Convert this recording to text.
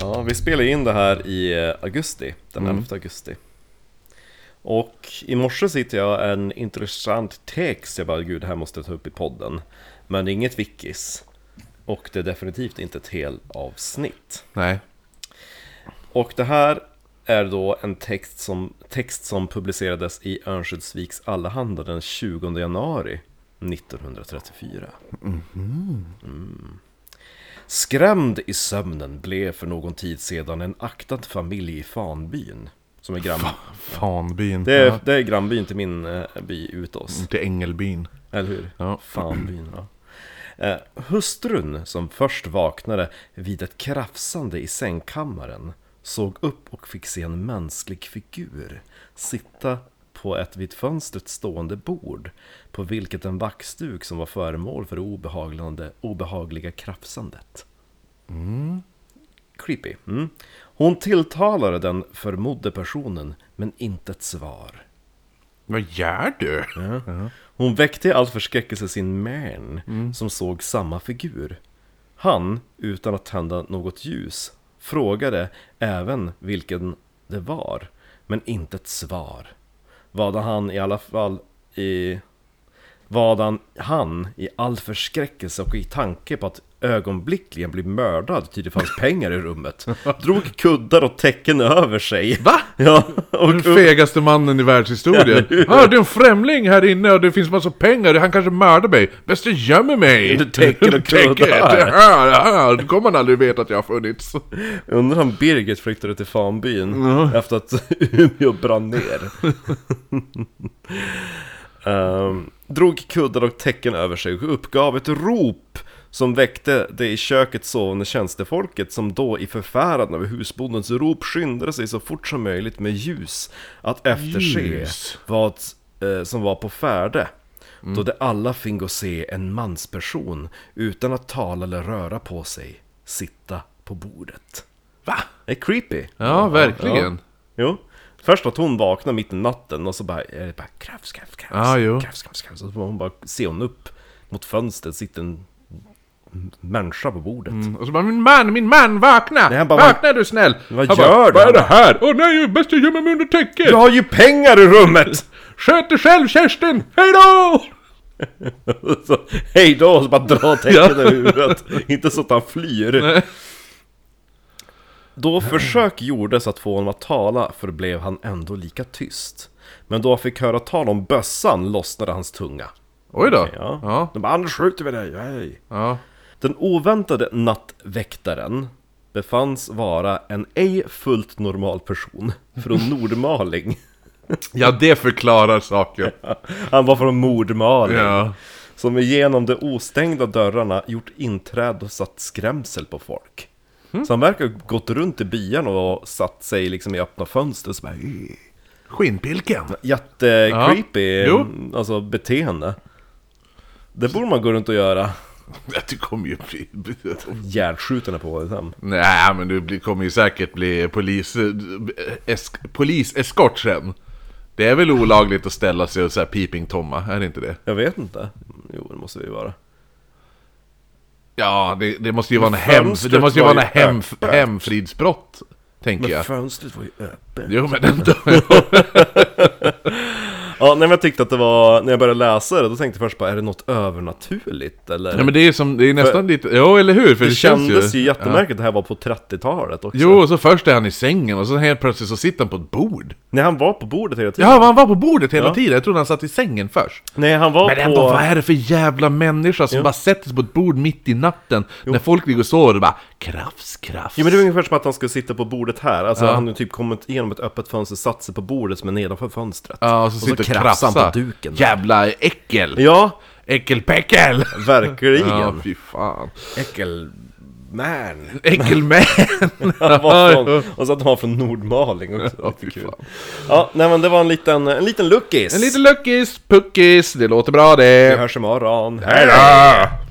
Ja, vi spelar in det här i eh, augusti, den 11 Mm. augusti. Och i morse sitter jag en intressant text, jag bara gud, det här måste jag ta upp i podden. Men det är inget wikis. Och det är definitivt inte ett helavsnitt. Nej. Och det här är då en text som, text som publicerades i Örnsköldsviks Allehanda den 20 januari 1934. Mm. Skrämd i sömnen blev för någon tid sedan en aktad familj i Fanbyn. Som är grann... Fanbyn. Det är, Ja. Mm. det är grannbyn till min eh, by Utås. Till Ängelbyn. Eller hur? Ja. Fanbyn, ja. Eh, hustrun, som först vaknade vid ett krafsande i sängkammaren, såg upp och fick se en mänsklig figur sitta på ett vid fönstret stående bord, på vilket en vaxduk som var föremål för det obehagande, obehagliga krafsandet. Creepy. Mm. Hon tilltalade den förmodde personen, men inte ett svar. Vad gör du? Hon väckte i all förskräckelse sin man som såg samma figur. Han, utan att tända något ljus, frågade även vilken det var, men inte ett svar. Vad han i alla fall i... Vad han, han i all förskräckelse och i tanke på att ögonblickligen bli mördad ty det fanns pengar i rummet, drog kuddar och täcken över sig. Va? Ja, och Den fegaste mannen i världshistorien. ah, det är en främling här inne och det finns massa pengar. Han kanske mördar mig. Bäst jag gömmer mig. Under täcket och Täcket. kuddar. Ah, ah, Då kommer han aldrig veta att jag har funnits. Jag undrar om Birgit flyttade till Fanbyn efter att Umeå brann ner. Ehm, drog kuddar och täcken över sig och uppgav ett rop som väckte det i köket sovande tjänstefolket som då i förfäran över husbondens rop skyndade sig så fort som möjligt med ljus att efterse Ljus. Mm. vad eh, som var på färde. Då de alla fingo se en mansperson utan att tala eller röra på sig sitta på bordet. Va? Det är creepy. Ja, verkligen. Jo. Först att hon vaknar mitt i natten och så bara, är det bara krafs, krafs, krafs, Ja, Ah, jo. krafs, krafs, krafs. Och så hon bara, ser hon upp mot fönstret sitter en människa på bordet. Och så bara min man, min man, vakna! Nej, han bara, vakna du snäll! Vad Han gör bara, du? Vad är det här? Åh nej, bäst jag gömmer mig under täcket! Du har ju pengar i rummet! Sköt dig själv Kerstin! Hejdå! så, hej då! Och så bara dra täcket Ja. över huvudet. Inte så att han flyr. Då försök gjordes att få honom att tala förblev han ändå lika tyst. Men då han fick höra tal om bössan lossnade hans tunga. Oj då. Ja. Ja. De bara, annars skjuter vi dig! Hej. ja. Den oväntade nattväktaren befanns vara en ej fullt normal person från Nordmaling. Ja, det förklarar saker. Han var från Mordmaling. Ja. Som genom de ostängda dörrarna gjort inträde och satt skrämsel på folk. Hm. Så han verkar ha gått runt i byarna och satt sig liksom i öppna fönster och så bara, "Eh." Skinnpilken. Ja. Jättecreepy Jo. alltså, beteende. Det borde man gå runt och göra. Det kommer ju bli... Hjärtskjuten på liksom. ett hem. Nej, men du blir- kommer ju säkert bli polis... Esk, poliseskort sen. Det är väl olagligt att ställa sig och så här peeping tomma, är det inte det? Jag vet inte. Jo, det måste det ju vara. Ja, det, det måste ju vara en hem, fönstret det måste ju var vara en ju hem, öppet. hemfridsbrott, tänker jag. fönstret var ju öppet. Jo, men ändå. Ja, nej, men jag tyckte att det var, när jag började läsa det, då tänkte jag först bara, är det något övernaturligt? Eller? Ja, men det är ju som, det är nästan lite... Jo, eller hur? För det, det, kändes känns ju jättemärkligt, det här var på 30-talet också. Jo, och så först är han i sängen och så helt plötsligt så sitter han på ett bord. Nej, han var på bordet hela tiden. Ja, han var på bordet hela Ja. tiden. Jag trodde han satt i sängen först. Nej, han var Men på... ändå, vad är det för jävla människa som bara sätter sig på ett bord mitt i natten när folk ligger och sover och bara krafs, krafs. Ja, men det var ungefär som att han skulle sitta på bordet här. Alltså, Ja. han hade typ kommit igenom ett öppet fönster, satt sig på bordet som är nedanför fönstret. Ja, och så sitter och krafsar. han på duken. där. Jävla äckel! Ja, Äckelpäckel! verkligen. Ja, fy fan. Äckelman. Äckelmän! Han var från, och så att han var från Nordmaling också. Ja, fy Lite kul. fan. Ja, nej men det var en liten, en liten luckis. En liten luckis, puckis, det låter bra Vi det. hörs imorgon. Hej då!